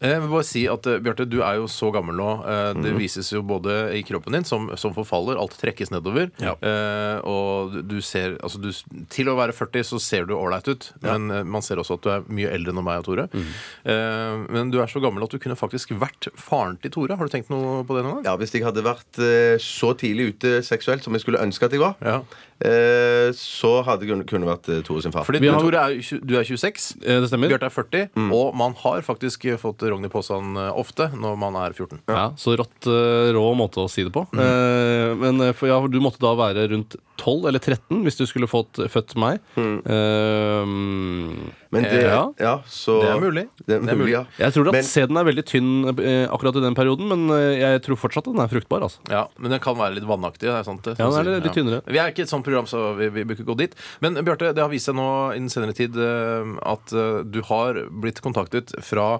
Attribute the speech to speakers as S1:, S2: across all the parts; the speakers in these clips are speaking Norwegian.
S1: Jeg vil bare si at eh, Bjarte, du er jo så gammel nå. eh,
S2: Mhm.
S1: Det vises jo både i kroppen din, som, som forfaller. Alt trekkes nedover.
S2: Ja.
S1: Eh, og du du ser altså du, s- Til å være 40 så ser du ålreit ut, men eh, man ser også at du er mye eldre enn meg og Tore.
S2: Mhm.
S1: Eh, men du er så gammel at du kunne faktisk vært faren til Tore. Har du tenkt noe på det noen gang?
S3: Ja, Hvis jeg hadde vært eh, så tidlig ute seksuelt som jeg skulle ønske at jeg var,
S1: Ja.
S3: eh, så hadde jeg kun- kunne vært eh, Tore sin far.
S1: Fordi
S2: Vi har-
S1: Tore er, jo tjue- du er 26.
S2: Eh, Mm. Det stemmer.
S1: Bjarte er 40, og man har faktisk fått rogn i posen eh, ofte når man er 14.
S2: Ja, Så rått eh, rå måte å si det på.
S3: Mm.
S2: Eh, men eh, for, ja, for du måtte da være rundt 12 eller 13 hvis du skulle fått født meg. Eh,
S3: Mm. Men det, ja.
S2: Ja.
S3: så,
S1: Det er mulig.
S3: Det er mulig, ja.
S2: jeg tror at
S3: Men-
S2: sæden er veldig tynn eh, akkurat i den perioden, men eh, jeg tror fortsatt at den er fruktbar. altså
S1: Ja, Men den kan være litt vannaktig. Det er sant, det,
S2: Ja, den er
S1: Sånn å si.
S2: litt tynnere.
S1: Vi er ikke et sånt program, så vi, vi bør ikke gå dit. Men Bjarte, det har vist seg nå i den senere tid eh, at eh, du har blitt kontaktet fra,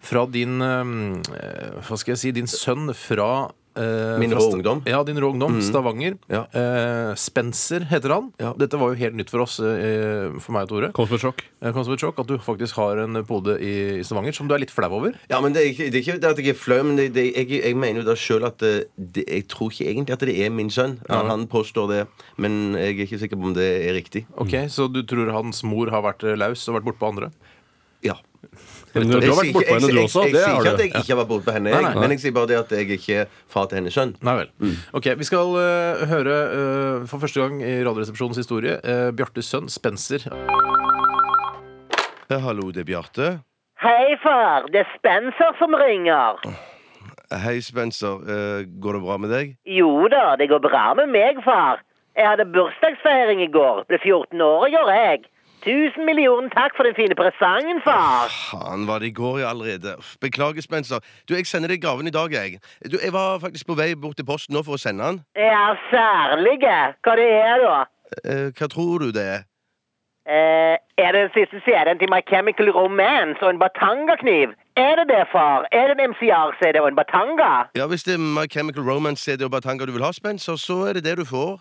S1: fra din eh, Hva skal jeg si Din sønn fra eh,
S3: Min
S1: fra
S3: rå
S1: Sta-
S3: ungdom. Mhm.
S1: Ja, din rå ungdom. Stavanger.
S3: Ja.
S1: Eh, Spencer heter han. Dette var jo helt nytt for oss, eh, for meg og Tore.
S2: Kom som et sjokk.
S1: Jeg kom som et sjokk At du faktisk har en pode i i Stavanger som du er litt flau over.
S3: Ja, men det er ikke det, er ikke det at jeg er flau, men det, det, jeg, jeg mener jo da sjøl at eh, det, Jeg tror ikke egentlig at det er min sønn. Han, han påstår det, men jeg er ikke sikker på om det er riktig.
S1: Ok,
S2: Mm.
S1: Så du tror hans mor har vært eh, laus og vært bortpå andre?
S3: Ja.
S2: Men du, du
S3: Jeg sier
S2: har vært
S3: ikke-
S2: bortpå henne,
S3: jeg-
S2: du
S3: jeg-
S2: også.
S3: Jeg,
S2: Det
S3: sier ikke
S2: har
S3: at
S2: du.
S3: jeg ikke har vært borte på henne, jeg,
S1: Nei, nei.
S3: men jeg sier bare det at jeg er ikke far til hennes sønn.
S1: Nei vel. Mm. Ok, Vi skal eh, høre eh, for første gang i Radioresepsjonens historie eh, Bjartes sønn Spencer.
S4: Hallo, det er Bjarte.
S5: Hei, far. Det er Spencer som ringer.
S4: Hei, Spencer. Eh, går det bra med deg?
S5: Jo da, det går bra med meg, far. Jeg hadde bursdagsfeiring i går. Ble 14 år i går, jeg. Tusen millioner takk for den fine presangen, far.
S4: Faen, var det i går ja, allerede? Uff, Beklager, Spencer. Du, Jeg sender deg gaven i dag, jeg. Du, jeg var faktisk på vei bort til posten nå for å sende den.
S5: Ja, særlige. Hva det er, da?
S4: Eh, hva tror du det er?
S5: Eh, er det den siste serien til My Chemical Romance og en batangakniv? Er det det, far? Er det en MCR-CD og en batanga?
S4: Ja, Hvis det er My Chemical Romance-CD og Batanga du vil ha, Spencer, så er det det du får.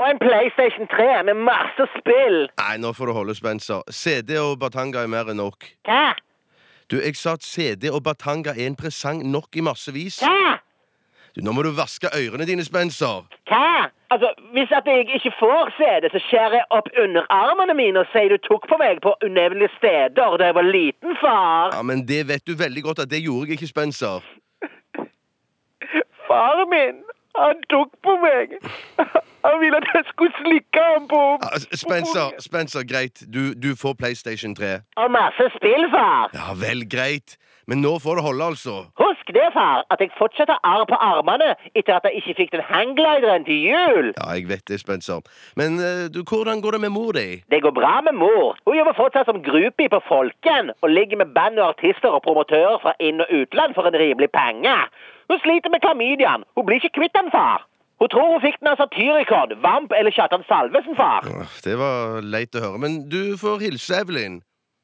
S5: Og en PlayStation 3 med masse spill?
S4: Nei, nå får du holde, Spencer. CD og Batanga er mer enn nok.
S5: Hva?
S4: Du, jeg sa at CD og Batanga er en presang nok i massevis.
S5: Hva?
S4: Du, Nå må du vaske ørene dine, Spencer.
S5: Hva? Altså, hvis at jeg ikke får se det, så skjærer jeg opp underarmene mine og sier du tok på meg på unevnelige steder da jeg var liten, far.
S4: Ja, men det vet du veldig godt at det gjorde jeg ikke, Spencer.
S5: Faren min, han tok på meg. Han ville at jeg skulle slikke ham på
S4: Ja, s- Spencer, Spencer, greit. Du, du får PlayStation 3.
S5: Og masse spill, far.
S4: Ja vel, greit. Men nå får det holde, altså.
S5: Husk det, far, at jeg fortsetter arr på armene etter at jeg ikke fikk den hangglideren til jul.
S4: Ja, jeg vet det, Spencer. Men eh, du, hvordan går det med mor di?
S5: Det går bra med mor. Hun jobber fortsatt som groupie på Folken og ligger med band og artister og promotører fra inn- og utland for en rimelig penge. Hun sliter med klamydiaen. Hun blir ikke kvitt den, far. Hun tror hun fikk den av Satyricon, Vamp eller Kjartan Salvesen, far.
S4: Åh, Det var leit å høre, men du får hilse Evelyn.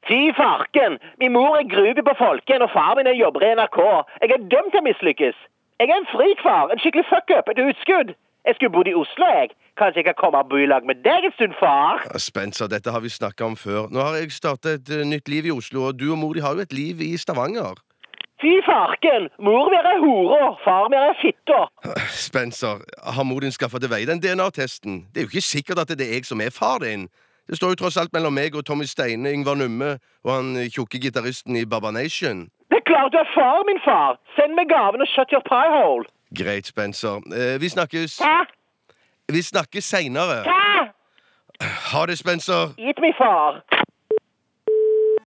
S5: Fy farken! Min mor er groupie på Folken, og far min er jobber i NRK. Jeg er dømt til å mislykkes. Jeg er en frik, far. En skikkelig fuck-up. Et utskudd. Jeg skulle bodd i Oslo, jeg. Kanskje jeg kan komme og bo i lag med deg en stund, far?
S4: Ja, Spencer, dette har vi snakka om før. Nå har jeg startet et eh, nytt liv i Oslo, og du og mor di har jo et liv i Stavanger.
S5: Fy farken! Mor mi er hora, far mi er fitta.
S4: Spencer, har mor din skaffa til veie den DNA-testen? Det er jo ikke sikkert at det er jeg som er far din. Det står jo tross alt mellom meg og Tommy Steine, Yngvar Numme og han eh, tjukke gitaristen i Baba Nation.
S5: Det er klart du er far, min far! Send meg gaven og shut your pie hole!
S4: Greit, Spencer. Eh, vi snakkes
S5: Hæ?
S4: Vi snakkes seinere.
S5: Hæ?
S4: Ha det, Spencer.
S5: Gitt meg far!